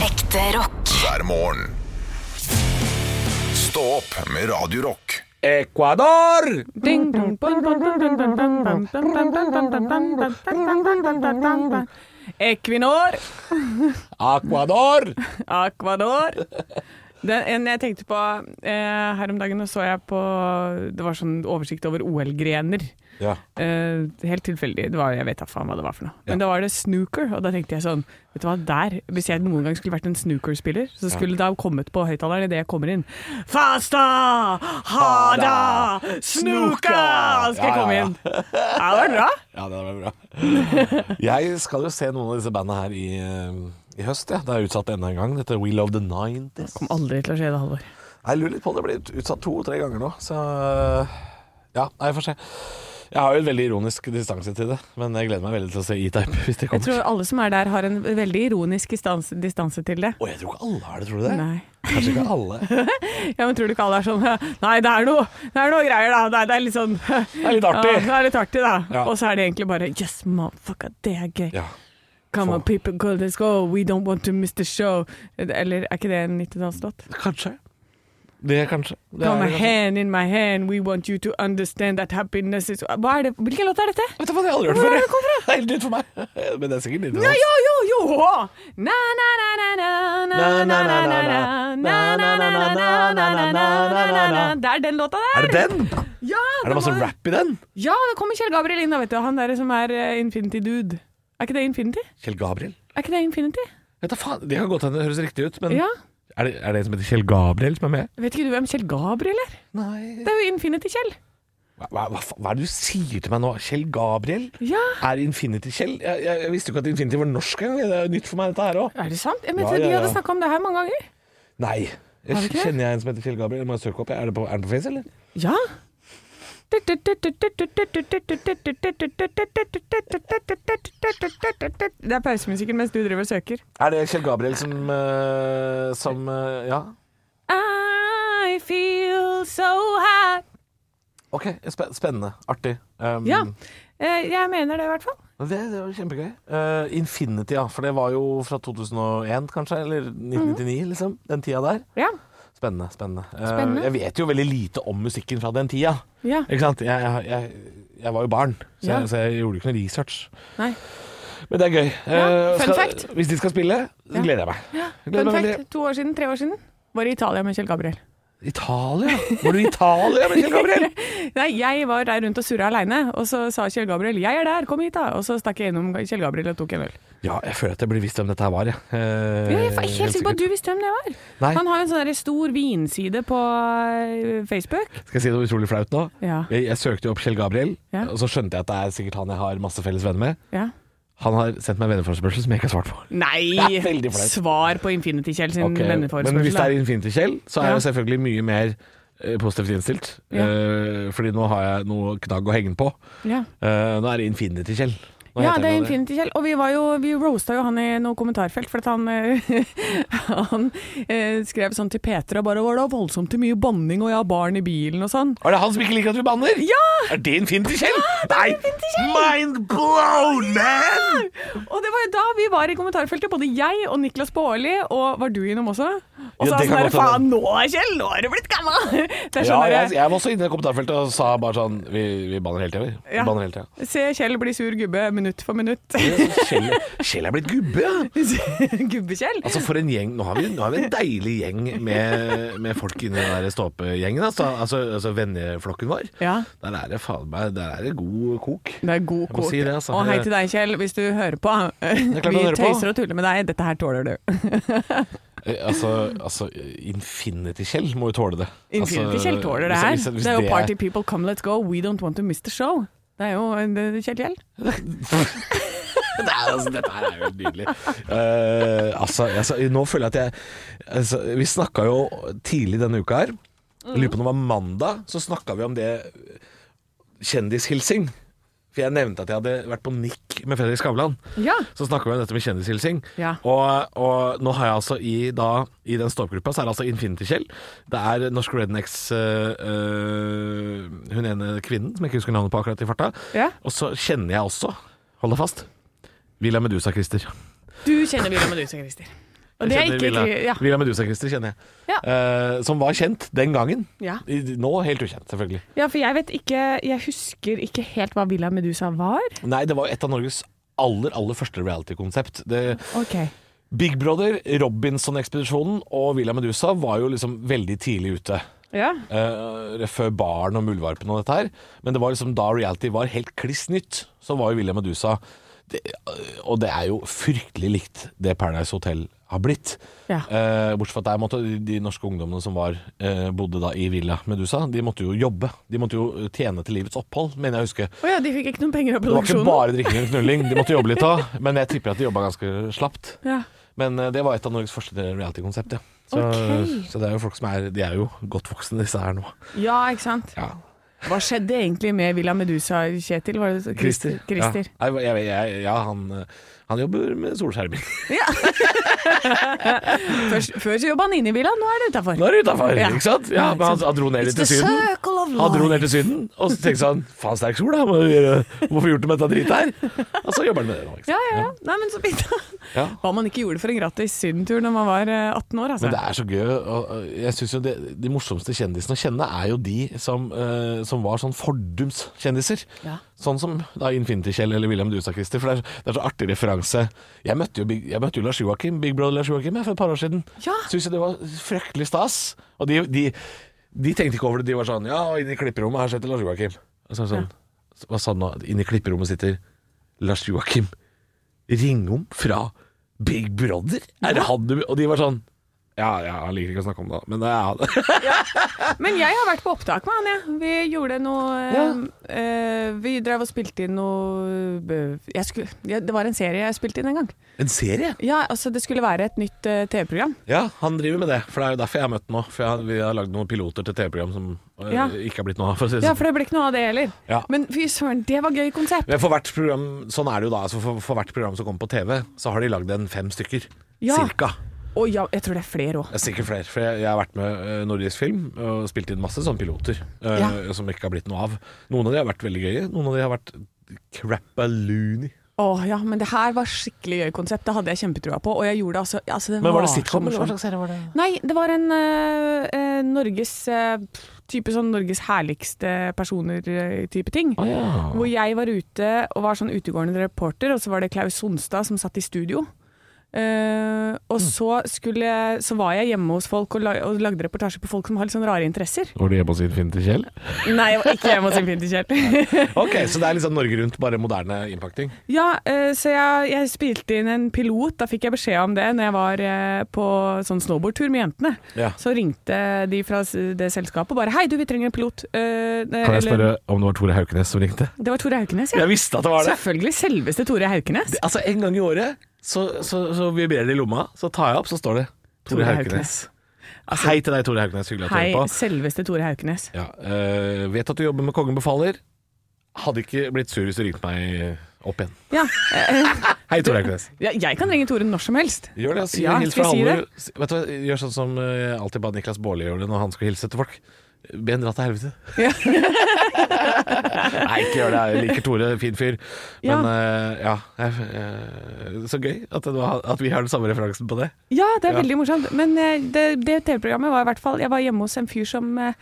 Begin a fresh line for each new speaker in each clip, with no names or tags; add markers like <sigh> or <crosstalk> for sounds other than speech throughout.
Ekte rock.
hver morgen. Stå opp med Radio Rock.
Ecuador!
Ding, dong, bong, bong, bong, bong, bong, bong, bong, bong, bong, bong, bong, bong, bong, bong, bong, bong, bong, bong, bong, bong. Equinor,
Ecuador!
Aquador den, en jeg tenkte på eh, her om dagen, og så jeg på Det var sånn oversikt over OL-grener.
Ja.
Eh, helt tilfeldig. Det var, jeg vet da faen hva det var for noe. Men da var det snooker, og da tenkte jeg sånn Vet du hva, der Hvis jeg noen gang skulle vært en snooker-spiller, så skulle det ha kommet på høyttaleren idet jeg kommer inn. Fasta! Hada! Snooker! Skal jeg komme inn. Ja, det var bra.
Ja, det var bra. Jeg skal jo se noen av disse bandene her i, eh, i høst, ja. Det er utsatt enda en gang. Dette Wheel of the 90s.
Kom aldri til å skje det, Halvor.
Jeg lurer litt på det. Det blir utsatt to-tre ganger nå, så eh, Ja, nei, jeg får se. Jeg har jo en veldig ironisk distanse til det, men jeg gleder meg veldig til å se E-Type hvis det
Jeg
kommer.
tror alle som er der har en veldig ironisk distanse, distanse til det.
Å, jeg tror ikke alle har det, tror du det?
Nei.
Kanskje ikke
<laughs>
alle.
Ja, men tror du ikke alle er sånn Nei, det er noe, det er noe greier, da. Det er, det er litt sånn Det
er litt artig.
Ja, det er litt artig, da.
Ja.
Og så er det egentlig bare Yes, motherfucker, det er gøy.
Ja.
Come on,
få.
people, go, let's go. We don't want to miss the show. Eller er ikke det en 90-tallslåt?
Kanskje. Det er kanskje. Det
Come
er
my
det kanskje.
hand in my hand, we want you to understand that happiness is Hva er det? Hvilken låt er dette?
Vet du hva, det har jeg aldri hørt før. jeg. Det er helt nytt for meg. <laughs> Men det er sikkert nytt.
Ja, ja, jo, jo! Na, na, na, na, na, na, na, na, na, na, na, na, na, na, na, na, na, na, na. Det er den låta der!
Er det den?
Ja,
Er det masse
var-
rap i den?
Ja, det kommer Kjell Gabriel inn, da, vet du. Han derre som er eh, Infinity Dude. Er ikke det Infinity?
Kjell Gabriel?
Er ikke det Infinity?
Vet du faen, Det kan godt hende det høres riktig ut, men
Ja.
er, det, er det en som heter Kjell Gabriel som er med?
Vet ikke du hvem Kjell Gabriel er?
Nei
Det er jo Infinity-Kjell.
hva, hva, hva, faen- hva er det du sier til meg nå? Kjell Gabriel?
Ja.
Er Infinity Kjell? Jeg, jeg, jeg visste jo ikke at Infinity var norsk engang. Det er jo nytt for meg, dette her òg.
Er det sant? Jeg mente
Ja, ja,
vi
ja.
hadde snakka om det her mange ganger.
Nei.
Har du
Jeg,
ikke det?
kjenner jeg en som heter Kjell Gabriel? Må jeg søke opp? jeg? Er, det på, er den på Face, eller?
Ja. Det er pausemusikken mens du driver og søker.
Er det Kjell Gabriel som, eh, som eh, Ja.
I feel so hot.
OK. spe- Spennende. Artig. Um,
Ja, eh, jeg mener det i hvert fall.
Det, det var kjempegøy. Eh, Infinity, ja. For det var jo fra 2001, kanskje? Eller 1999, liksom. Den tida der.
Ja.
Spennende. spennende. Eh,
Mhm. Spennende.
jeg vet jo veldig lite om musikken fra den tida.
ja.
Ikke sant? Jeg, jeg, jeg, jeg var jo barn, så,
Ja.
jeg, så jeg gjorde ikke noe research.
Nei.
Men det er gøy.
Ja,
Eh, skal,
fun fact.
Hvis de skal spille, så
Ja.
gleder jeg meg. Jeg gleder
Fun
meg
fact, to år siden, tre år siden, var i Italia med Kjell Gabriel.
veldig. Italia? Var du i Italia med
<laughs>
Kjell Gabriel?
Nei, jeg var der rundt og surra aleine, og så sa Kjell Gabriel 'jeg er der, kom hit', da. Og så stakk jeg innom Kjell Gabriel og tok en øl.
Ja, jeg føler at jeg burde visst hvem dette her var, jeg. Eh,
Jeg er helt sikker på at du visste hvem det var.
Nei.
Han har jo en sånn der stor vinside på eh, Facebook.
Skal jeg si noe utrolig flaut nå?
Ja.
Jeg, jeg søkte jo opp Kjell Gabriel,
Ja.
og så skjønte jeg at det er sikkert han jeg har masse felles venner med.
Ja.
Han har sendt meg venneforespørsel som jeg ikke har svart på.
Nei!
Ja, veldig flaut.
Svar på Infinity Kjell sin
Ok,
venneforespørsel.
Men hvis det
da.
er Infinity Kjell, så er
Ja.
jeg selvfølgelig mye mer eh, positivt innstilt.
Ja.
Eh, fordi nå har jeg noe knagg å henge den på.
ja.
Eh, nå er det Infinity Kjell. Nå
Ja,
heter
det er
han jo
Infinity Kjell. Og vi, var jo, vi roasta jo han i noe kommentarfelt, for at han, eh, <laughs> han eh, skrev sånn til Peter og bare 'Var det voldsomt til mye banning, og jeg har barn i bilen', og sånn.
Er det han som ikke liker at vi banner?
Ja!
Er det Infinity Kjell? Nei! Mind blown, man!
Og det var jo da vi var i kommentarfeltet, både jeg og Niklas Baarli, og var du innom også? Og
Ja,
så er
det kan godt
han sånn der, faen nå, Kjell, nå er du blitt gamma! <laughs> Det
Ja,
er sånn
jeg,
derre
jeg var også inne i kommentarfeltet og sa bare sånn Vi, vi banner hele tida, vi. vi.
Ja.
Banner hele tida.
Se Kjell bli sur gubbe minutt for minutt. <laughs>
Kjell, Kjell sånn er blitt gubbe, ja.
Gubbe-Kjell.
Altså for en gjeng, nå har vi, nå har vi en deilig gjeng med, med folk inni den der ståpegjengen, altså, altså, altså venneflokken vår.
Ja.
Der er det faen meg, der er det god kok.
Det er god
Jeg må
kok.
si det, altså.
Og hei til deg, Kjell, hvis du hører på.
er klart
<laughs> Vi
han hører på. Altså,
tøyser og tuller med deg. Dette her tåler du.
Eh, Altså, altså Infinity-Kjell må jo tåle det.
Infinity
altså,
Kjell tåler det
hvis-
her.
hvis- hvis
det er jo
det er-
party people, come let's go, we don't want to miss the show. Det er jo det- Kjell Kjell.
Det er, altså, dette her er jo nydelig. Eh, altså, altså, nå føler jeg at jeg altså, Vi snakka jo tidlig denne uka her. Jeg lurer på om det var mandag, så snakka vi om det kjendishilsing. For jeg nevnte at jeg hadde vært på nikk med Fredrik Skavlan.
Ja.
Så snakka vi om dette med kjendishilsing.
Ja.
Og, og nå har jeg altså i, da, i den ståpgruppa, så er det altså Infinity Kjell. Det er Norsk Rednecks øh, øh, Hun ene kvinnen, som jeg ikke husker navnet på akkurat i farta.
Ja.
Og så kjenner jeg også, hold deg fast, Villa Medusa-Christer.
Du kjenner Villa Medusa, Christer. Og det er
kjenner
ikke
Villa,
ja.
Villa Medusa-Christer kjenner jeg.
Ja.
Eh, som var kjent den gangen.
Ja.
I- Nå helt ukjent, selvfølgelig.
ja, for jeg vet ikke Jeg husker ikke helt hva Villa Medusa var.
Nei, det var jo et av Norges aller, aller første reality-konsept. Det-
Ok.
Big Brother, Robinson-ekspedisjonen og Villa Medusa var jo liksom veldig tidlig ute.
Ja.
Eh, før Baren og Muldvarpen og dette her. Men det var liksom da reality var helt kliss nytt, så var jo Villa Medusa det, eh, Og det er jo fryktelig likt det Paradise Hotel har blitt.
Ja.
Eh, bortsett fra at der måtte de, de norske ungdommene som var, eh, bodde da i Villa Medusa, de måtte jo jobbe. De måtte jo tjene til livets opphold, mener jeg å huske.
Å ja, de fikk ikke noen penger av
Det var ikke
produksjonen?
bare drikking og knulling, de måtte jobbe litt òg. Men jeg tipper at de jobba ganske slapt.
Ja.
Men eh, det var et av Norges første reality-konsept, ja. Så,
Ok.
så det er jo folk som er De er jo godt voksne, disse her nå.
ja, ikke sant.
Ja.
Hva skjedde egentlig med Villa Medusa, Kjetil? Var det Christer? Christer.
Ja, Nei, jeg, jeg, ja han, eh, han jobber med solskjermen.
Først, før så jobba han inne i Villa, nå er det utafor.
Nå er det utafor,
Ja.
ikke sant? Ja, men han, han dro ned litt til Syden. Han dro ned til Syden, og så tenkte han faen sterk sol, da. Må vi gjøre- må få gjort noe med dette dritet her. Og så jobber han med det nå. Ikke sant?
Ja, ja, ja. Nei, men så fint.
Ja.
<laughs> Hva man ikke gjorde for en gratis sydentur når man var eh, 18 år, altså.
Men det er så gøy. Og og jeg synes jo det, De morsomste kjendisene å kjenne er jo de som, eh, som var sånn fordums kjendiser.
Ja.
Sånn som da Infinity-Kjell eller William Dusa-Christer. For det er, det er så artig referanse. Jeg møtte jo, Big, jeg møtte jo Lars Joakim, Big Brother Lars Joakim jeg, for et par år siden.
Ja.
Syns jo det var fryktelig stas. Og de, de, de tenkte ikke over det. De var sånn Ja, og inne i klipperommet her sitter Lars Joakim. Og så er det sånn, Hva sa han nå? Inne i klipperommet sitter Lars Joakim Ringom fra Big Brother? Er det han du Og de var sånn ja, ja, han liker ikke å snakke om det, da, men det er han. <laughs>
Men jeg har vært på opptak med han, jeg. Vi gjorde noe eh, eh, Vi drev og spilte inn noe eh, jeg skulle, ja, Det var en serie jeg spilte inn en gang.
En serie?
Ja, altså Det skulle være et nytt eh, TV-program.
Ja, han driver med det. For det er jo derfor jeg har møtt ham nå. For jeg, har- vi har lagd noen piloter til TV-program som øh,
Ja.
ikke har blitt noe av, for å si det
Ja,
sånn.
for det ble ikke noe av det heller.
Ja.
Men fy søren, det var gøy konsept.
Men for hvert program, sånn er det jo da. Altså for, for hvert program som kommer på TV, så har de lagd en fem stykker.
Ja.
Cirka.
Og ja, jeg tror det er flere òg.
Det er Sikkert flere, for jeg, jeg har vært med eh, Nordisk Film og spilt inn masse sånne piloter eh,
Ja.
som ikke har blitt noe av. Noen av de har vært veldig gøye, noen av de har vært crappaloony.
Å ja, men det her var skikkelig gøy konsept. Det hadde jeg kjempetrua på. Og jeg gjorde det altså, ja, altså det
Men var det
så
sitcom? eller
morsomt.
Hva slags serie var det?
Nei, det var en eh, eh, Norges eh, Type sånn Norges herligste personer-type ting.
Å ja.
Hvor jeg var ute og var sånn utegående reporter, og så var det Klaus Sonstad som satt i studio. Eh, og
Mm.
så, skulle, så var jeg hjemme hos folk og, la, og lagde reportasje på folk som har litt sånn rare interesser.
Var du hjemme hos Infinity Kjell?
Nei, jeg var ikke hjemme hos Infinity Kjell.
<laughs> Ok, så det er liksom Norge Rundt, bare moderne innpakning.
Ja, eh, så jeg, jeg spilte inn en pilot. Da fikk jeg beskjed om det når jeg var eh, på sånn snowboardtur med jentene.
Ja.
Så ringte de fra s- det selskapet og bare 'Hei, du, vi trenger en pilot'. Eh, eller-
om det var Tore Haukenes som ringte?
Det var Tore Haukenes, ja.
Jeg visste at det var det!
Selvfølgelig selveste Tore Haukenes.
Altså, en gang i året så, så, så vibrerer det i lomma, så tar jeg opp, så står det Tore,
Tore
Haukenes. Hei til deg, Tore Haukenes. Hyggelig at du
Altså- Hei,
hører på.
selveste Tore Haukenes.
Ja, øh, vet at du jobber med Kongen befaler. Hadde ikke blitt sur hvis du ringte meg opp igjen.
Ja, eh, eh,
Hei, Tore Haukenes.
ja, jeg kan ringe Tore når som helst.
Gjør det, altså.
Ja,
hils
skal
fra
jeg si
Halvor. Vet du hva, gjør sånn som øh, jeg alltid ba Niklas Baarli gjøre det når han skal hilse til folk. Be han dra til helvete. <laughs>
Ja.
Nei, ikke gjør det. Jeg liker Tore, fin fyr. Men øh, ja, jeg, øh, Så gøy at, det var, at vi har den samme referansen på det.
Ja, det er
Ja.
veldig morsomt. Men eh, det, det TV-programmet var i hvert fall Jeg var hjemme hos en fyr som eh,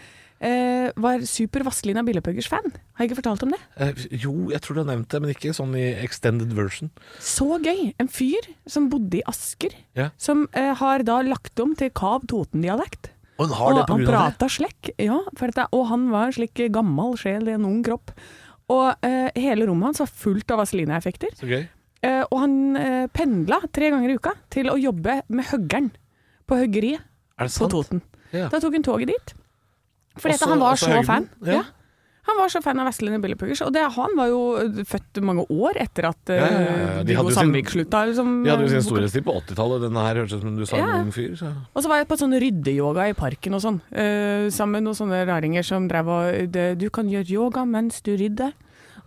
eh, var super Vazelina Billepuggers fan. Har jeg ikke fortalt om det?
Eh, jo, jeg tror du har nevnt det, men ikke sånn i extended version.
Så gøy! En fyr som bodde i Asker,
Ja.
som eh, har da lagt om til Kav Toten-dialekt.
Og hun har det
og
på
han
grunn av det?
prata slekk, ja, for at det, og han var en slik gammel sjel i en ung kropp. Og eh, hele rommet hans var fullt av Vazelina-effekter.
Så gøy.
Eh, og han eh, pendla tre ganger i uka til å jobbe med høggeren på høggeriet
Er det
på
sant?
Toten.
Ja.
Da tok hun toget dit. Fordi
Og så-
at han var
og så
så
høgden,
fan.
ja.
Ja. Han var så fan av Vazelina Billepuggers. Og det, han var jo eh, født mange år etter at eh,
Ja, ja, ja. De hadde
Viggo
jo sin-
Sandvik slutta. Liksom,
De hadde jo
eh,
sin storhetstid på 80-tallet. Denne her hørtes ut som du sa
Ja.
en ung fyr.
<laughs>
Så.
Og så var jeg på sånn ryddeyoga i parken og sånn, eh, sammen med noen sånne raringer som drev og det, Du kan gjøre yoga mens du rydder,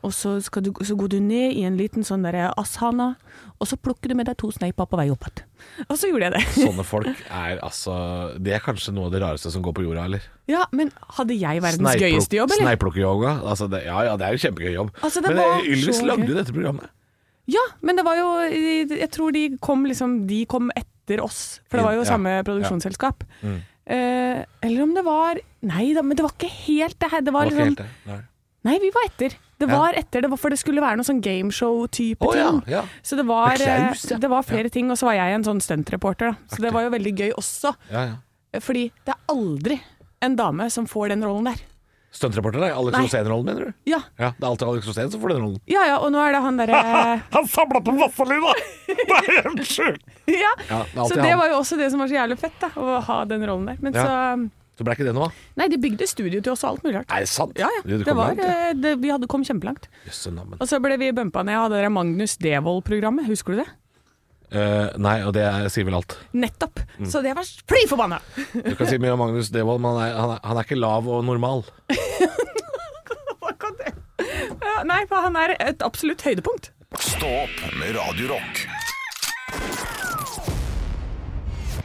og så, skal du, så går du ned i en liten sånn derre ashana, og så plukker du med deg to sneiper på vei opp igjen. Og så gjorde jeg det.
Sånne folk er altså Det er kanskje noe av det rareste som går på jorda, eller?
<laughs> Ja, men hadde jeg verdens
Sneipluk-
gøyeste jobb, eller?
Sneiplukkeryoga. Altså det- ja ja, det er jo kjempegøy jobb.
Altså, det
Men
var
eh, Ylvis
så
lagde
gøy.
jo dette programmet.
Ja, men det var jo Jeg tror de kom liksom De kom etter etter oss, for det var jo
Ja,
samme
ja.
produksjonsselskap.
Mm.
Eh, eller om det var Nei da, men det var ikke helt det her. Det var,
Det var ikke
liksom
helt det. Nei.
Nei, vi var etter. Det
Ja.
var etter, det var, for det skulle være noe sånn gameshow-type
Å, ja,
ting.
ja.
Så det var, eh,
Med Klaus, ja.
det var flere ting, og så var jeg en sånn stuntreporter. da. Så det var jo veldig gøy også,
Ja, ja.
fordi det er aldri en dame som får den rollen der.
Stuntreporter, da? Alex
Nei.
Rosén-rollen, mener du?
Ja,
Ja, Det er alltid Alex Rosén som får den rollen.
ja, ja og nå er det han derre
<laughs> Han samla på
<laughs>
Vasselina! Det er helt sjukt!
ja.
Ja, det er
Så
alltid
det
han.
var jo også det som var så jævlig fett, da, å ha den rollen der. Men
Ja.
så mm,
Så ble ikke det noe av?
Nei, de bygde studio til oss og alt mulig rart.
Er det sant?
Ja, ja. Det var, eh, det, vi hadde kom kjempelangt. Og så ble vi bumpa ned av det der Magnus Devold-programmet, husker du det?
Eh, nei, og det er, sier vel alt.
Nettopp!
Mm.
Så det var fly forbanna!
Du kan si mye om Magnus Devold, men han er, han, er, han er ikke lav og normal. <laughs>
Hva kan det? Ja, nei, for han er et absolutt høydepunkt.
Stå opp med Radio Rock.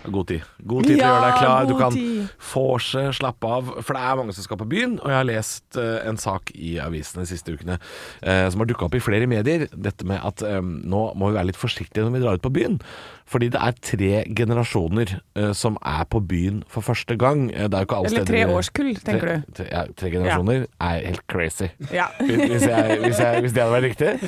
God tid. God tid til å
Ja,
gjøre deg klar. Du
god
kan
tid.
vorse, slappe av. For det er mange som skal på byen, og jeg har lest eh, en sak i avisene de siste ukene eh, som har dukka opp i flere medier. Dette med at eh, nå må vi være litt forsiktige når vi drar ut på byen. Fordi det er tre generasjoner eh, som er på byen for første gang. Eh, Det er jo ikke alle
Eller
steder-
tre årskull, tenker
tre,
du.
Tre, ja, tre generasjoner er helt crazy.
Ja.
Hvis, jeg, hvis, jeg, hvis det hadde vært riktig.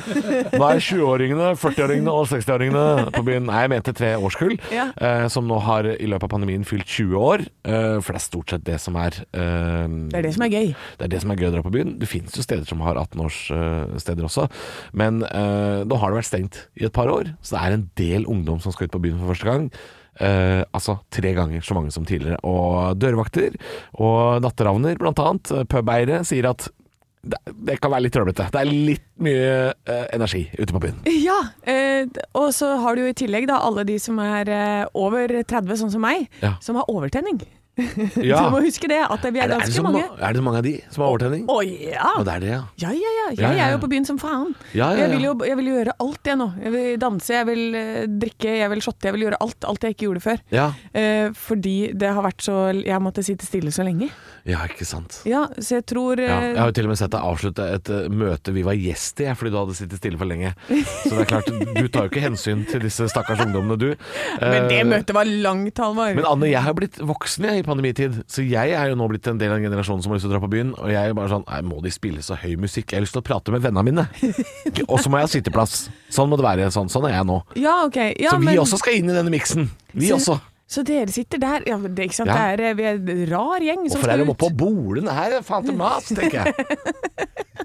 Nå er 20-åringene, 40-åringene og 60-åringene på byen. Nei, jeg mente tre årskull,
Ja.
eh, som nå har i løpet av pandemien fylt 20 år. Eh, for det er stort sett det som er eh,
Det er det som er gøy.
det er det som er gøy å dra på byen. Det finnes jo steder som har 18-årssteder også, men eh, nå har det vært stengt i et par år, så det er en del ungdom som skal ut på byen for første gang. Eh, altså tre ganger så mange som tidligere. Og dørvakter og natteravner, blant annet, eh, pubeiere, sier at det, det kan være litt trøblete. Det er litt mye eh, energi ute på byen.
Ja, eh, d- og så har du jo i tillegg da alle de som er eh, over 30, sånn som meg,
<laughs> Ja.
som har overtenning.
Ja.
Du må huske det, at vi er,
Er det, er, det
ganske
så
mange.
mange, er det så mange av de som har overtenning?
Å ja.
Og det er det, ja.
Ja, ja, ja.
Ja,
Jeg,
ja,
er
ja.
jo på byen som faen.
Ja, ja,
Jeg, vil
ja.
jo, jeg vil gjøre alt, jeg nå. Jeg vil danse, jeg vil eh, drikke, jeg vil shotte, jeg vil gjøre alt. Alt jeg ikke gjorde før.
Ja,
Eh, fordi det har vært så Jeg har måttet sitte stille så lenge.
ja ikke sant.
Ja, så jeg tror
Ja,
eh,
jeg har jo til og med sett deg avslutte et eh, møte vi var gjest i, jeg, fordi du hadde sittet stille for lenge. Så det er klart, du tar jo ikke hensyn til disse stakkars ungdommene, du.
Men det
Eh,
møtet var langt, Halvor.
men Anne, jeg har blitt voksen jeg, i pandemitid, så jeg er jo nå blitt en del av en generasjon som har lyst til å dra på byen. Og jeg er bare sånn Nei, må de spille så høy musikk? Jeg har lyst til å prate med vennene
<laughs>
mine. Og så må jeg ha sitteplass. Sånn må det være. Sånn, sånn er jeg nå.
Ja, ok. Ja,
Så vi
men,
også skal inn i denne miksen. Vi
Så-
også.
Så dere sitter der. Ja, men det, ikke sant?
Ja.
Det er, eh, vi er en rar gjeng som
Hvorfor er
skal
de
ut.
oppå bolene her? Faen til mas, tenker jeg.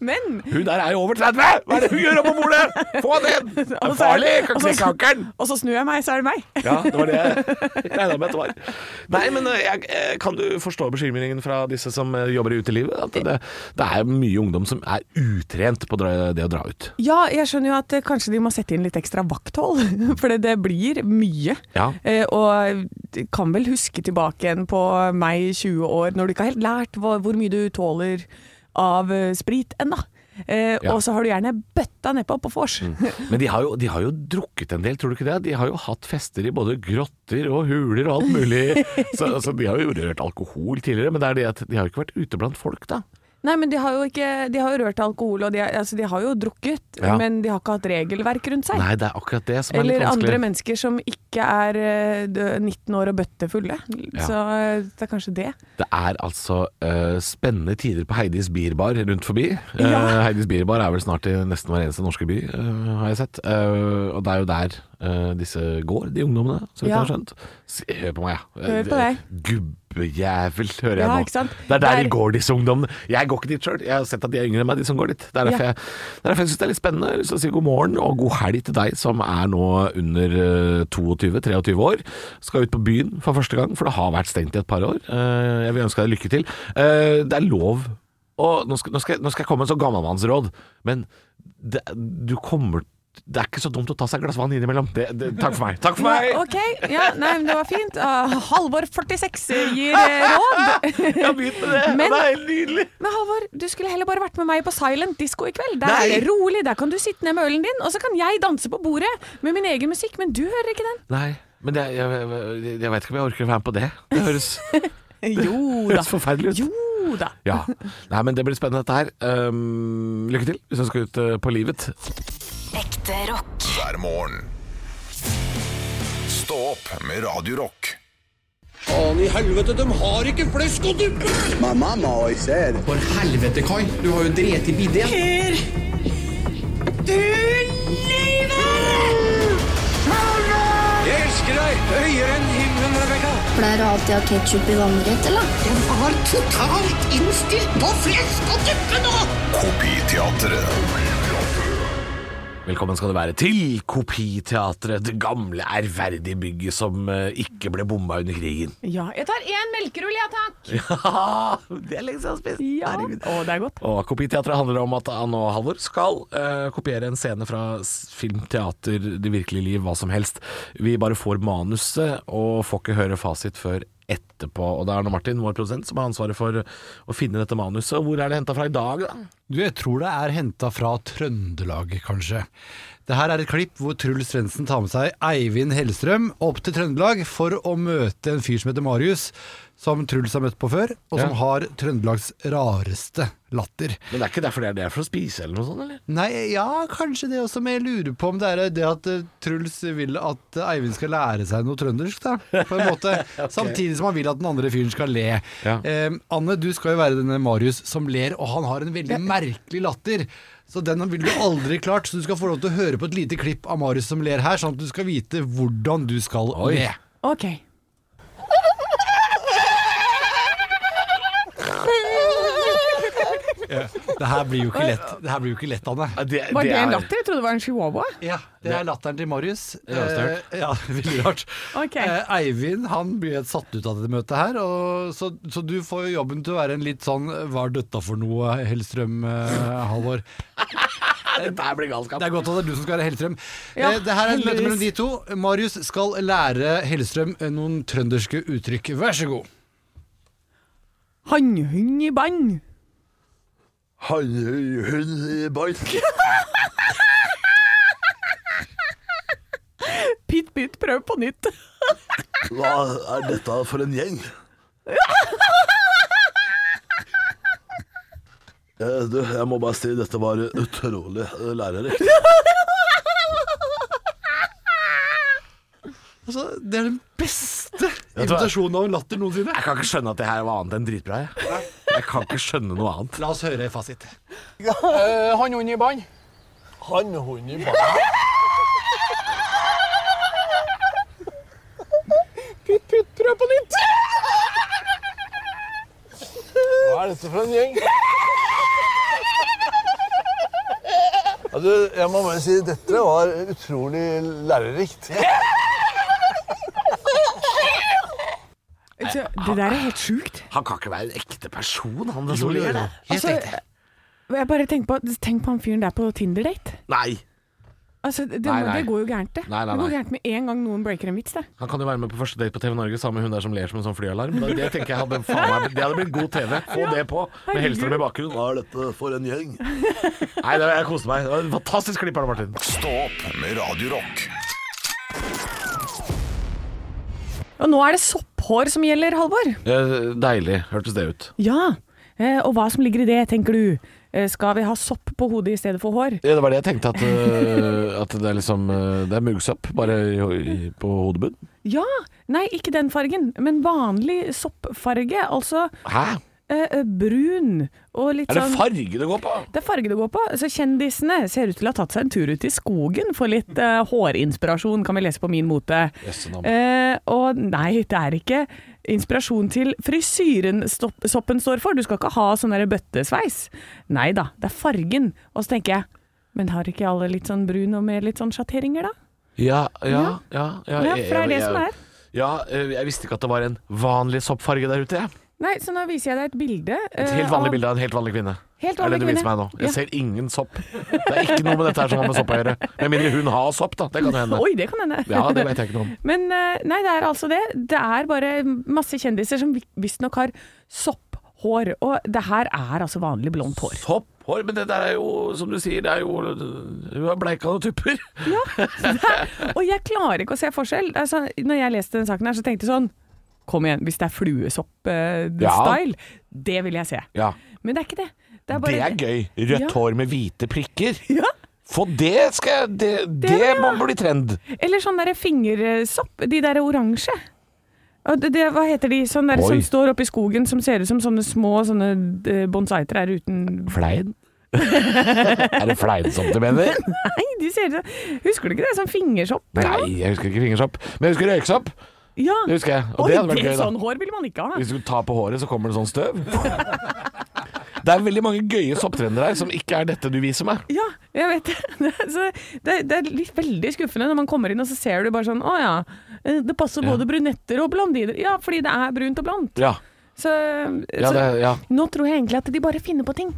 Men
Hun der er jo over 30! Hva er det hun gjør oppå bordet? Få henne ned! Det
<laughs>
er
Og så er-
farlig! Kan
og så-
knekke ankelen!
Og så snur jeg meg, så er det meg. <laughs>
Ja, det var det jeg regna med at det var. Nei, men eh, jeg, eh, kan du forstå bekymringen fra disse som eh, jobber i utelivet? At det, det er mye ungdom som er utrent på dra- det å dra ut.
Ja, jeg skjønner jo at eh, kanskje de må sette inn litt ekstra vakthold. <laughs> For det, det blir mye.
Ja.
Eh, og du kan vel huske tilbake igjen på meg i 20 år, når du ikke har helt lært hva, hvor mye du tåler av eh, sprit ennå. Eh,
Ja.
Og så har du gjerne bøtta nedpå på vors.
Men de har, jo, de har jo drukket en del, tror du ikke det? De har jo hatt fester i både grotter og huler og alt mulig. Så, så de har jo rørt alkohol tidligere, men det er det at de har jo ikke vært ute blant folk, da.
<laughs> Nei, men de har jo ikke De har jo rørt alkohol, og de, har- altså, de har jo drukket,
Ja.
men de har ikke hatt regelverk rundt seg.
Nei, det er akkurat det som er litt
Eller andre
vanskelig.
mennesker som ikke er eh, dø- 19 år og bøttefulle.
Ja.
Så eh, det er kanskje det.
Det er altså eh, spennende tider på Heidis Bierbar rundt forbi. Eh,
Ja.
Heidis Bierbar er vel snart i nesten hver eneste norske by, eh, har jeg sett. Eh, og det er jo der eh, disse går, de ungdommene, så vidt
Ja.
jeg har skjønt. S- Hør på meg, ja.
Hør på deg.
Gubbejævel, hører jeg
Ja,
nå.
ikke sant?
Det er der
Der-
de går, disse ungdommene. Jeg går ikke dit sjøl, jeg har sett at de er yngre enn meg, de som går dit. Det er derfor
Ja.
jeg, det er derfor jeg syns det er litt spennende. Jeg har lyst til å si god morgen og god helg til deg som er nå under 22-23 år. Skal ut på byen for første gang, for det har vært stengt i et par år. Eh, Jeg vil ønske deg lykke til. Eh, Det er lov og nå skal, nå, skal, jeg- nå skal jeg komme med et sånt gammelmannsråd, men det, du kommer Det er ikke så dumt å ta seg et glass vann innimellom. Det, det, takk for meg. Takk for meg!
Ok, ja, nei, men det var fint. Ah, Halvor 46 gir eh,
<laughs>
råd.
Jeg har begynt med det, og
Men-
det er helt nydelig.
Men Halvor, du skulle heller bare vært med meg på silent disco i kveld. Der
Nei.
er det rolig, der kan du sitte ned med ølen din, og så kan jeg danse på bordet med min egen musikk, men du hører ikke den.
Nei, men det, jeg, jeg, jeg vet ikke om jeg orker å være med på det. Det <laughs> høres,
Jo da.
høres forferdelig ut.
<laughs> Jo da.
Ja. Nei, men det blir spennende dette her. Um, lykke til hvis du skal ut eh, på livet.
Ekte rock.
hver morgen. opp med Radio Rock.
Faen i helvete, de har ikke flesk og duppe!
My mama always said,
For helvete, Kai. Du har jo drept i bidé.
Jeg elsker deg høyere enn himmelen, Rebekka!
Pleier du alltid ha ketsjup i vannrett, eller?
Kopiteatret.
Velkommen skal du være til Kopiteatret, det gamle, ærverdige bygget som eh, ikke ble bomba under krigen.
Ja, jeg tar én melkerull, ja takk.
det er lenge siden jeg har spist.
Ja.
Herregud.
Å, det er godt.
Og Kopiteatret handler om at Anne og Halvor skal eh, kopiere en scene fra s- film, teater, det virkelige liv, hva som helst. Vi bare får manuset og får ikke høre fasit før etterpå. Og det er nå Martin, vår produsent, som har ansvaret for å finne dette manuset. Og hvor er det henta fra i dag, da?
Du, jeg tror det er henta fra Trøndelag, kanskje. Det her er et klipp hvor Truls Svendsen tar med seg Eivind Hellstrøm opp til Trøndelag for å møte en fyr som heter Marius, som Truls har møtt på før, og som
Ja.
har Trøndelags rareste latter.
Men det er ikke derfor det er det er for å spise, eller noe sånt, eller?
Nei, ja, kanskje det også, men jeg lurer på om det er det at eh, Truls vil at eh, Eivind skal lære seg noe trøndersk, da, på en
<laughs>
måte. Samtidig som han vil at den andre fyren skal le.
Ja.
Eh, Anne, du skal jo være denne Marius som ler, og han har en veldig merkelig latter. Så den vil du aldri klart, så du skal få lov til å høre på et lite klipp av Marius som ler her, sånn at du skal vite hvordan du skal
Oi.
le.
Ok.
Det her blir jo ikke lett, det her blir jo ikke lett Anne.
Var det en latter? Jeg trodde det var en chihuahua.
Ja, det er latteren til Marius.
Det er rart.
Eh, ja, <laughs> veldig rart.
Ok.
Eh, Eivind han blir helt satt ut av dette møtet her, og så, så du får jo jobben til å være en litt sånn hva er dette for noe, Hellstrøm, eh, Halvor.
Dette her blir galskap.
Det er godt at det er du som skal være Hellstrøm.
Ja,
eh, det her er et møte
heldigvis.
mellom de to. Marius skal lære Hellstrøm eh, noen trønderske uttrykk. Vær så god.
Hannhund i band.
Hannhund i
<laughs>
bark.
Pitt, pitt, prøv på nytt.
Hva er dette for en gjeng? Du, jeg må bare si dette var utrolig lærerikt.
Altså, det er den beste invitasjonen av en latter noensinne.
Jeg kan ikke skjønne at det her var annet enn dritbra. Jeg, jeg kan ikke skjønne noe annet.
La oss høre fasit.
Hannhund i bånd.
Hannhund i barn. Hva er dette for en gjeng? Ja, du, jeg må bare si dette var utrolig lærerikt.
Så, det der er helt sjukt.
Han kan ikke være en ekte person, han
Jo,
som
jo,
gjør det.
jo. Helt
Altså,
riktig.
jeg bare tenk på, tenk på han fyren der på Tinder-date.
Nei.
Altså, det,
Nei, nei.
det går jo gærent, det.
Nei, nei,
Det går
nei.
gærent med en gang noen breaker en vits, det.
Han kan jo være med på første date på TV Norge sammen med hun der som ler som en sånn flyalarm. Det, det tenker jeg hadde, faen meg, det hadde blitt god TV. Få det på, med Hellstrøm i bakgrunnen. Hva er dette for en gjeng? Nei, det, jeg koste meg. Det var en fantastisk klipp, Arne Martin.
Stå opp med Radio Rock.
Og nå er det sopphår som gjelder, Halvor.
Eh, Deilig, hørtes det ut.
Ja. Eh, og hva som ligger i det, tenker du. Eh, skal vi ha sopp på hodet i stedet for hår?
Ja, det var det jeg tenkte, at, øh, at det er liksom øh, Det er muggsopp, bare i, i, på hodebunn.
Ja! Nei, ikke den fargen, men vanlig soppfarge. Altså
Hæ?
eh, eh, brun og litt
Er det
sånn
farge det går på?
Det er farge det går på. Så kjendisene ser ut til å ha tatt seg en tur ut i skogen for litt eh, hårinspirasjon, kan vi lese på Min Mote.
Jøssenavn.
Eh, og nei, det er ikke inspirasjon til frisyren stopp, soppen står for. Du skal ikke ha sånn der bøttesveis. Nei da, det er fargen. Og så tenker jeg, men har ikke alle litt sånn brun og med litt sånn sjatteringer, da?
Ja, ja, ja.
Ja, for det er det som er.
Ja, øh, jeg visste ikke at det var en vanlig soppfarge der ute, jeg.
Nei, så nå viser jeg deg et bilde.
Et
eh,
helt vanlig
av-
bilde av en helt vanlig kvinne. er
Helt
det
vanlig
du viser
kvinne.
meg nå? Jeg
Ja.
ser ingen sopp. Det er ikke noe med dette her som har med sopp å gjøre. Med mindre hun har sopp, da. Det kan jo hende.
Oi, det kan hende.
Ja, det vet jeg ikke noe om.
Men eh, nei, det er altså det. Det er bare masse kjendiser som vi- visstnok har sopphår. Og det her er altså vanlig blondt hår.
Sopphår, men det der er jo, som du sier, det er jo Hun har bleika noen tupper.
<laughs> Og jeg klarer ikke å se forskjell. Altså, når jeg leste den saken her, så tenkte jeg sånn Kom igjen, hvis det er fluesopp-style, det vil jeg se.
Ja.
Men det er ikke det. Det er,
Det
bare,
er gøy. Rødt
Ja.
hår med hvite prikker.
<laughs> Ja,
For det skal jeg Det, det, må bli trend.
Eller sånn derre fingersopp. De derre oransje. Og Det, det, hva heter de sånn der, som
Oi.
står oppe i skogen, som ser ut som sånne små sånne eh, bonsai-trær uten <laughs>
Flein? er det fleinsomt du mener?
Nei, de ser ut som Husker du ikke det? Sånn fingersopp.
Nei, jeg husker ikke fingersopp. Men jeg husker røyksopp.
Ja.
Det husker jeg. Og
Oi,
det hadde vært gøy, da.
Sånn hår vil man ikke ha.
Hvis du tar på håret, så kommer det sånn støv. Det er veldig mange gøye sopptrender her som ikke er dette du viser meg.
Ja, jeg vet det. <laughs> Det er, så, det, er- det er litt veldig skuffende når man kommer inn og så ser du bare sånn Å ja, eh, det passer både brunetter og blondiner. Ja, fordi det er brunt og blondt.
Ja,
Så,
ja,
så
det, ja.
nå tror jeg egentlig at de bare finner på ting.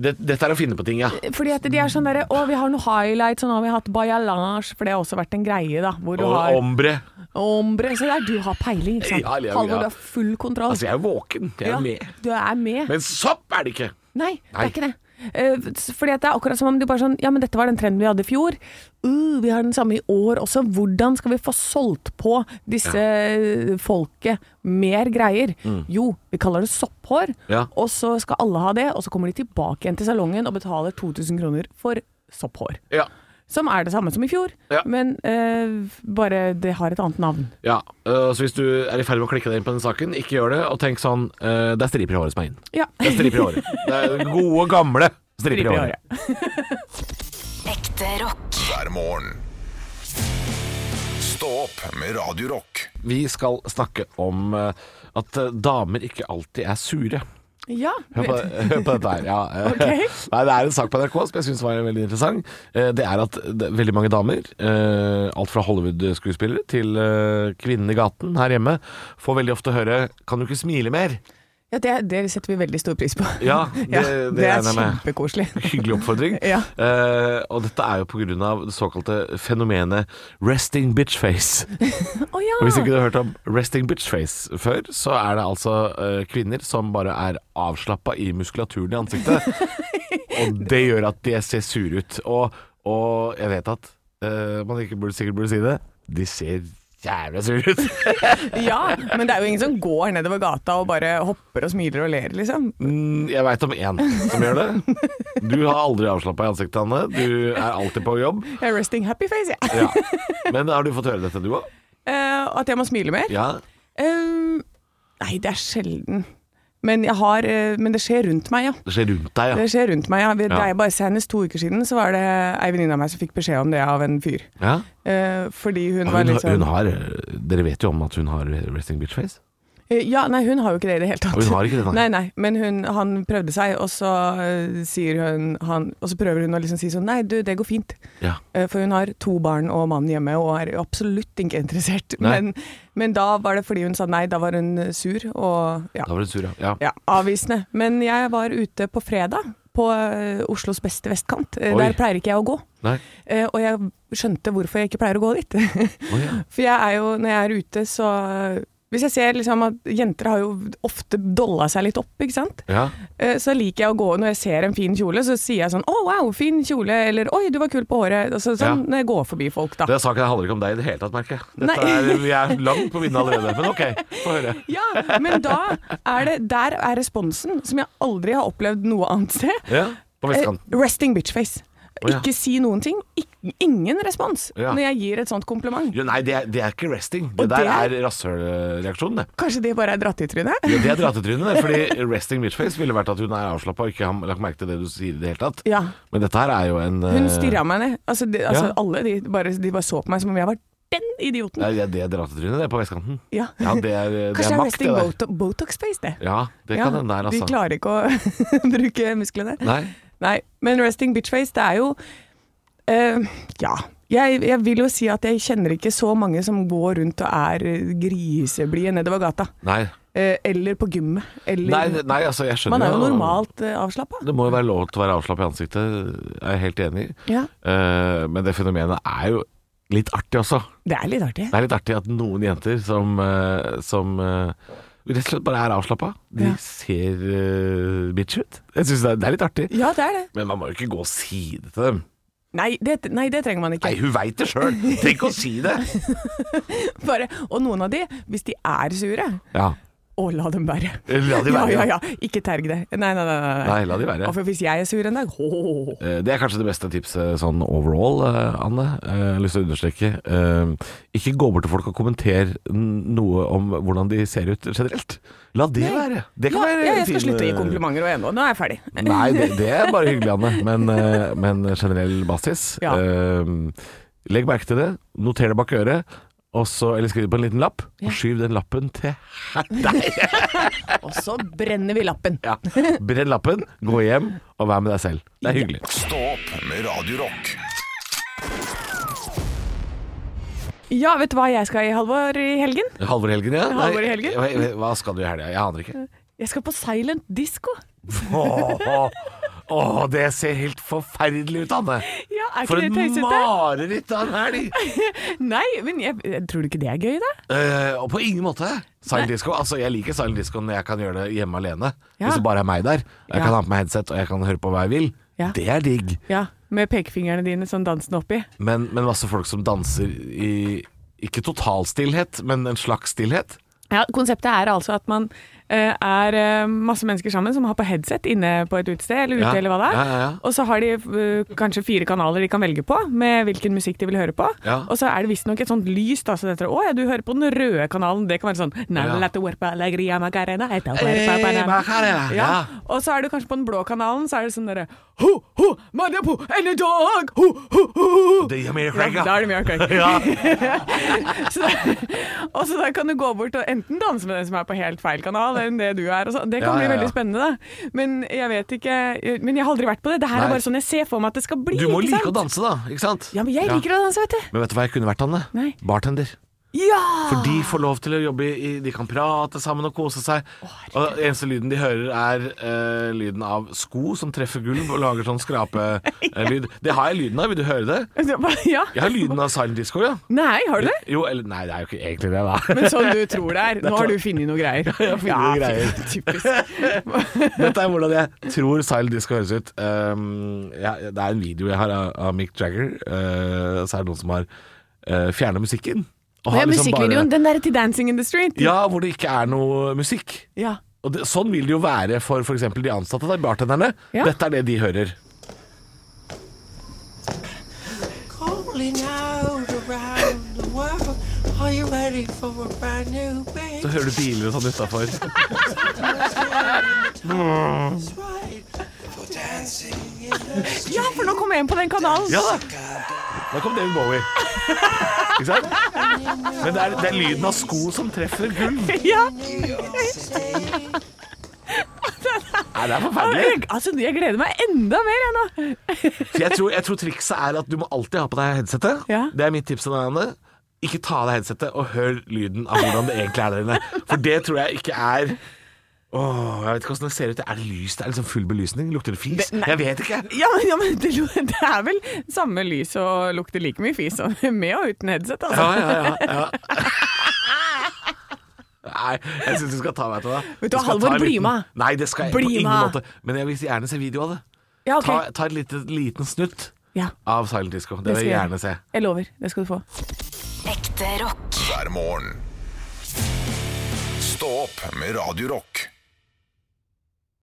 Det, Dette er å finne på ting, ja.
Fordi at de er sånn derre Å, vi har noe highlights, og nå har vi hatt bajalange, for det har også vært en greie, da. Hvor du
Og
har
ombre.
ombre. Så der du har peiling, ikke sant.
Ja, ja, ja.
Halvor, du har full kontroll.
Altså, jeg er våken. Jeg
Ja,
er med.
Du er med.
Men sopp er det ikke!
Nei, det
Nei.
er ikke det. Eh, Fordi at det er akkurat som om du bare sånn Ja, men dette var den trenden vi hadde i fjor. Uh, vi har den samme i år også. Hvordan skal vi få solgt på disse eh, folket mer greier? Jo, vi kaller det sopphår,
Mm. Ja.
og så skal alle ha det. Og så kommer de tilbake igjen til salongen og betaler 2000 kroner for sopphår.
Ja.
Som er det samme som i fjor,
Ja.
men eh, bare det har et annet navn.
ja. øh, Så hvis du er i ferd med å klikke deg inn på den saken, ikke gjør det. Og tenk sånn øh, Det er striper i håret som er inn.
<laughs> Ja.
Det er striper i håret. Det er gode, gamle striper i håret.
Ekte rock.
hver morgen. Stå opp med Radio Rock.
Vi skal snakke om øh, at øh, damer ikke alltid er sure.
ja.
Hør på, hør på dette her. Ja. eh,
<laughs> Ok.
Nei, det er en sak på NRK som jeg syns var veldig interessant. Eh, Det er at det er veldig mange damer, eh, alt fra Hollywood-skuespillere til eh, kvinnen i gaten her hjemme, får veldig ofte høre 'kan du ikke smile mer'?
ja det, det setter vi veldig stor pris på.
Ja, det,
Ja,
det,
det er
regner jeg med.
kjempekoselig.
Hyggelig oppfordring.
<laughs> Ja.
Eh, og dette er jo pga. det såkalte fenomenet 'resting bitch face'.
Å ja!
Og Hvis ikke du har hørt om resting bitch face før, så er det altså eh, kvinner som bare er avslappa i muskulaturen i
<laughs>
ansiktet. og det gjør at de ser sure ut. Og, og jeg vet at eh, man ikke burde, sikkert burde si det, de ser jævla sure ut.
Ja, men det er jo ingen som går nedover gata og bare hopper og smiler og ler, liksom.
Mm, jeg veit om én som gjør det. Du har aldri avslappa i ansiktet, Anne. Du er alltid på jobb.
Jeg er resting happy face, jeg.
Ja. Men har du fått høre dette, du òg?
Eh, at jeg må smile mer?
Ja.
Eh, nei, det er sjelden. Men, jeg har, eh, men det skjer rundt meg, ja.
Det skjer rundt deg, ja.
Det skjer rundt meg, ja. Vi-
Ja.
Det er bare Senest to uker siden så var det ei venninne av meg som fikk beskjed om det av en fyr.
ja.
Eh, fordi hun,
Og
var
Hun,
litt
har- hun
sånn
har eh, Dere vet jo om at hun har resting bitch face?
Eh, Ja, nei, hun har jo ikke det i det hele tatt.
Og hun har ikke det, nei.
Nei, nei, men hun, han prøvde seg, og så, eh, sier hun, han, og så prøver hun å liksom si sånn Nei, du, det går fint.
Ja.
Eh, For hun har to barn og mann hjemme og er absolutt ikke interessert.
Nei.
Men, men da var det fordi hun sa nei, da var hun eh, sur og ja,
Da var hun sur, ja. ja.
ja avvisende. Men jeg var ute på fredag på eh, Oslos beste vestkant. Eh,
Oi.
Der pleier ikke jeg å gå.
Nei.
Eh, og jeg skjønte hvorfor jeg ikke pleier å gå dit. <laughs>
Å, ja.
For jeg er jo, når jeg er ute, så eh, Hvis jeg ser liksom at jenter har jo ofte dolla seg litt opp, ikke sant.
Ja.
Eh, Så liker jeg å gå når jeg ser en fin kjole, så sier jeg sånn 'Å, wow, fin kjole', eller 'Oi, du var kul på håret'. Altså, sånn
Ja.
når jeg går forbi folk, da.
Det er saken her handler ikke om deg i det hele tatt, merker jeg. Dette
Nei.
er, vi er langt på vinden allerede. Men ok, få høre.
Ja, men da er det Der er responsen, som jeg aldri har opplevd noe annet sted.
Ja, på
Eh,
vestkanten.
resting bitchface.
Å, ja.
Ikke si noen ting. Ik ingen respons
Ja.
når jeg gir et sånt kompliment.
Jo, nei, det er, det er ikke resting. Det
Og
der
det
er rasshølreaksjonen, det.
Kanskje de bare er dratt i trynet?
Ja, Det er dratetrynet, det. Fordi resting bitchface ville vært at hun er avslappa og ikke har lagt merke til det du sier i det hele tatt.
Ja.
Men dette her er jo en eh,
Hun stirra meg ned. Altså, de, altså
Ja.
alle de bare, de bare så på meg som om jeg var den idioten.
Det er, det er dratetrynet, det, er på vestkanten.
Ja.
Ja, det er, det
Kanskje
er
det er
makt,
resting
det der.
boto- botox-face, det.
Ja, det
Ja,
kan hende der,
De
altså.
klarer ikke å <laughs> bruke musklene.
Nei.
Nei, men resting bitchface, det er jo eh, Ja. Jeg, jeg vil jo si at jeg kjenner ikke så mange som går rundt og er eh, griseblide nedover gata.
Nei.
Eh, eller på gymmet. Eller
Nei, nei, altså, jeg skjønner
Man er jo normalt eh, avslappa.
Det må jo være lov til å være avslappa i ansiktet, er jeg helt enig i.
Ja,
Eh, men det fenomenet er jo litt artig også.
det er litt artig.
Det er litt artig at noen jenter som, eh, som eh, rett og slett bare er avslappa, de
Ja.
ser eh, bitch ut. Jeg syns det, er- det er litt artig.
Ja, det er det.
Men man må jo ikke gå og si det til dem.
Nei, det, nei, det trenger man ikke.
Nei, hun veit det sjøl!
<laughs>
Trenger ikke å si det!
Bare, og noen av de, hvis de er sure
Ja.
og la dem være.
La de være,
ja,
ja.
ja, ja. Ikke terg det. Nei, nei, nei. nei.
Nei, la de være.
Og for hvis jeg er sur en dag <laughs> ho,
Eh, Det er kanskje det beste tipset sånn overall, eh, Anne. Eh, Jeg har lyst til å understreke. Eh, Ikke gå bort til folk og kommenter n- noe om hvordan de ser ut generelt. La det være. Det kan
Ja,
være
ja, jeg skal
fin,
slutte å gi
eh,
komplimenter og ennå. Nå er jeg ferdig.
Nei, det, det er bare hyggelig, Anne. Men, eh, men generell basis.
Ja.
Eh, Legg merke til det. Noter det bak øret. Og så, eller skriv det på en liten lapp, og skyv den lappen til
Og så brenner vi lappen. <laughs>
ja. Brenn lappen, gå hjem og vær med deg selv. Det er hyggelig.
Stå opp med Radio Rock.
Ja, vet du hva jeg skal i, Halvor, i helgen?
Halvor i helgen, ja? Nei,
Halvor i helgen.
hva- Hva skal du i helga? Jeg aner ikke.
Jeg skal på silent disco.
Åh, åh, det ser helt forferdelig ut, Anne.
Ja, er
For
ikke det
et
tøysete?
mareritt av en helg!
Nei, men jeg, jeg tror du ikke det er gøy, da?
Eh, og på ingen måte. Silent disco. Altså, jeg liker silent disco når jeg kan gjøre det hjemme alene.
Ja.
Hvis det bare er meg der. Jeg
Ja.
kan ha på meg headset og jeg kan høre på hva jeg vil.
Ja.
Det er digg.
Ja, Med pekefingrene dine sånn dansende oppi.
Men, men masse folk som danser i ikke total stillhet, men en slags stillhet.
Ja, Konseptet er altså at man eh, er eh, masse mennesker sammen som har på headset inne på et utested eller ute,
Ja.
eller hva det er.
Ja, ja, ja.
Og så har de eh, kanskje fire kanaler de kan velge på med hvilken musikk de vil høre på.
Ja.
Og så er det visstnok et sånt lys. da, så det heter, Å ja, du hører på den røde kanalen. Det kan være sånn
Ja.
«Navla tu huerpa alegría Macarena, eta huerpa
Eh,
banana».
Macarena,
ja.
ja.
Og så er du kanskje på den blå kanalen, så er det sånn derre Ho, ho, mania på, any dog, ho, ho, ho, ho.
Det gir mer
Ja,
crack,
da
ja.
er det mye crack. <laughs> Så da, og så da kan du gå bort og enten danse med den som er på helt feil kanal, enn det du er. Og sånn. det
Ja,
kan bli
ja, ja.
veldig spennende, da. Men jeg vet ikke Men jeg har aldri vært på det. Det her
Nei.
er bare sånn jeg ser for meg at det skal bli.
Du må
ikke
like
sant?
å danse, da. Ikke sant?
Ja, men jeg liker å danse, vet du.
Men vet du hva jeg kunne vært, Anne?
Nei.
Bartender.
Ja!
For
Ah.
de får lov til å jobbe i De kan prate sammen og kose seg. og eneste lyden de hører, er eh, lyden av sko som treffer gulv og lager
<laughs>
sånn skrapelyd. Det har jeg lyden av, vil du høre det?
ja.
Jeg har lyden av silent disco, ja.
Nei, har du det?
Jo, eller Nei, det er jo ikke egentlig det,
<laughs>
da.
Men sånn du tror det er. Nå har du funnet noe greier.
jeg har funnet noe greier.
fy- Typisk.
Dette er hvordan jeg tror silent disco høres ut. Um, jeg, det er en video jeg har av, av Mick Jagger. eh, så er det noen som har uh, fjerna musikken. Og
Det
har
er
liksom bare-
musikkvideoen. Den derre til 'Dancing in the Street'.
Ja, hvor det ikke er noe musikk.
Ja.
Og det, sånn vil det jo være for f.eks. de ansatte der, bartenderne.
Ja.
Dette er det de hører.
Calling out around the world. Are you ready for a brand new band?
Så hører du biler og sånn utafor.
That's right. For dancing in the street.
ja, for nå kom jeg inn på den kanalen.
Ja da! Da kom David Bowie. Ikke sant? Men det er, det er lyden av sko som treffer gulv.
<laughs> Ja.
Nei, det er
Jeg,
forferdelig.
altså, jeg gleder meg enda mer, jeg nå. <laughs>
Så jeg tror, jeg tror trikset er at du må alltid ha på deg headsetet.
Ja.
Det er mitt tips til deg, Anne. Ikke ta av deg headsetet og hør lyden av hvordan det egentlig er der inne. For det tror jeg ikke er Åh, jeg vet ikke åssen det ser ut. Er det lys? Det er liksom full belysning? Lukter det fis? jeg vet ikke.
Ja, men, ja, men det, lo- det er vel samme lys og lukter like mye fis og- <laughs> med og uten headset, altså.
Ja, ja, ja, ja.
<laughs>
Nei, jeg syns du skal ta meg til det.
Vet du hva,
skal
Halvor,
ta en
bli
liten-
med.
Nei, det skal jeg
Bli
på ingen
med.
måte. Men jeg vil gjerne se video av det.
Ja, ok.
Ta, ta en liten, liten snutt
Ja,
av Silent Disco. Det,
det
vil jeg
skal jeg
gjerne se.
Jeg lover. Det skal du få.
Ekte rock.
hver morgen. Stå opp med Radio Rock.